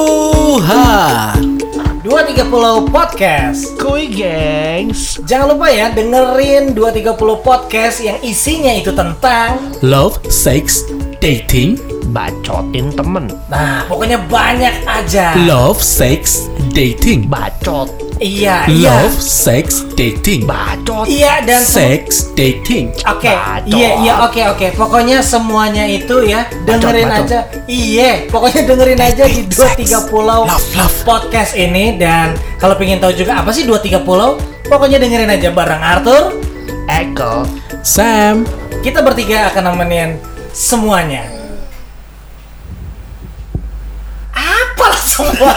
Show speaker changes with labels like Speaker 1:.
Speaker 1: Aloha
Speaker 2: 230 Podcast
Speaker 3: Kuy gengs
Speaker 2: Jangan lupa ya dengerin 230 Podcast yang isinya itu tentang
Speaker 1: Love, sex, dating
Speaker 3: Bacotin temen
Speaker 2: Nah pokoknya banyak aja
Speaker 1: Love, sex, dating
Speaker 3: Bacot
Speaker 2: Iya iya
Speaker 1: Love, sex, dating
Speaker 3: Bacot
Speaker 2: Iya dan semu-
Speaker 1: Sex, dating
Speaker 2: Oke
Speaker 3: Bacot.
Speaker 2: iya iya oke oke Pokoknya semuanya itu ya dengerin
Speaker 3: bacot.
Speaker 2: aja Iya pokoknya dengerin aja di
Speaker 1: Dating, sex,
Speaker 2: 230
Speaker 1: love, love.
Speaker 2: Podcast ini Dan kalau pengen tahu juga apa sih 230 Pokoknya dengerin aja bareng Arthur
Speaker 3: Eko
Speaker 1: Sam
Speaker 2: Kita bertiga akan nemenin semuanya. Apa semua?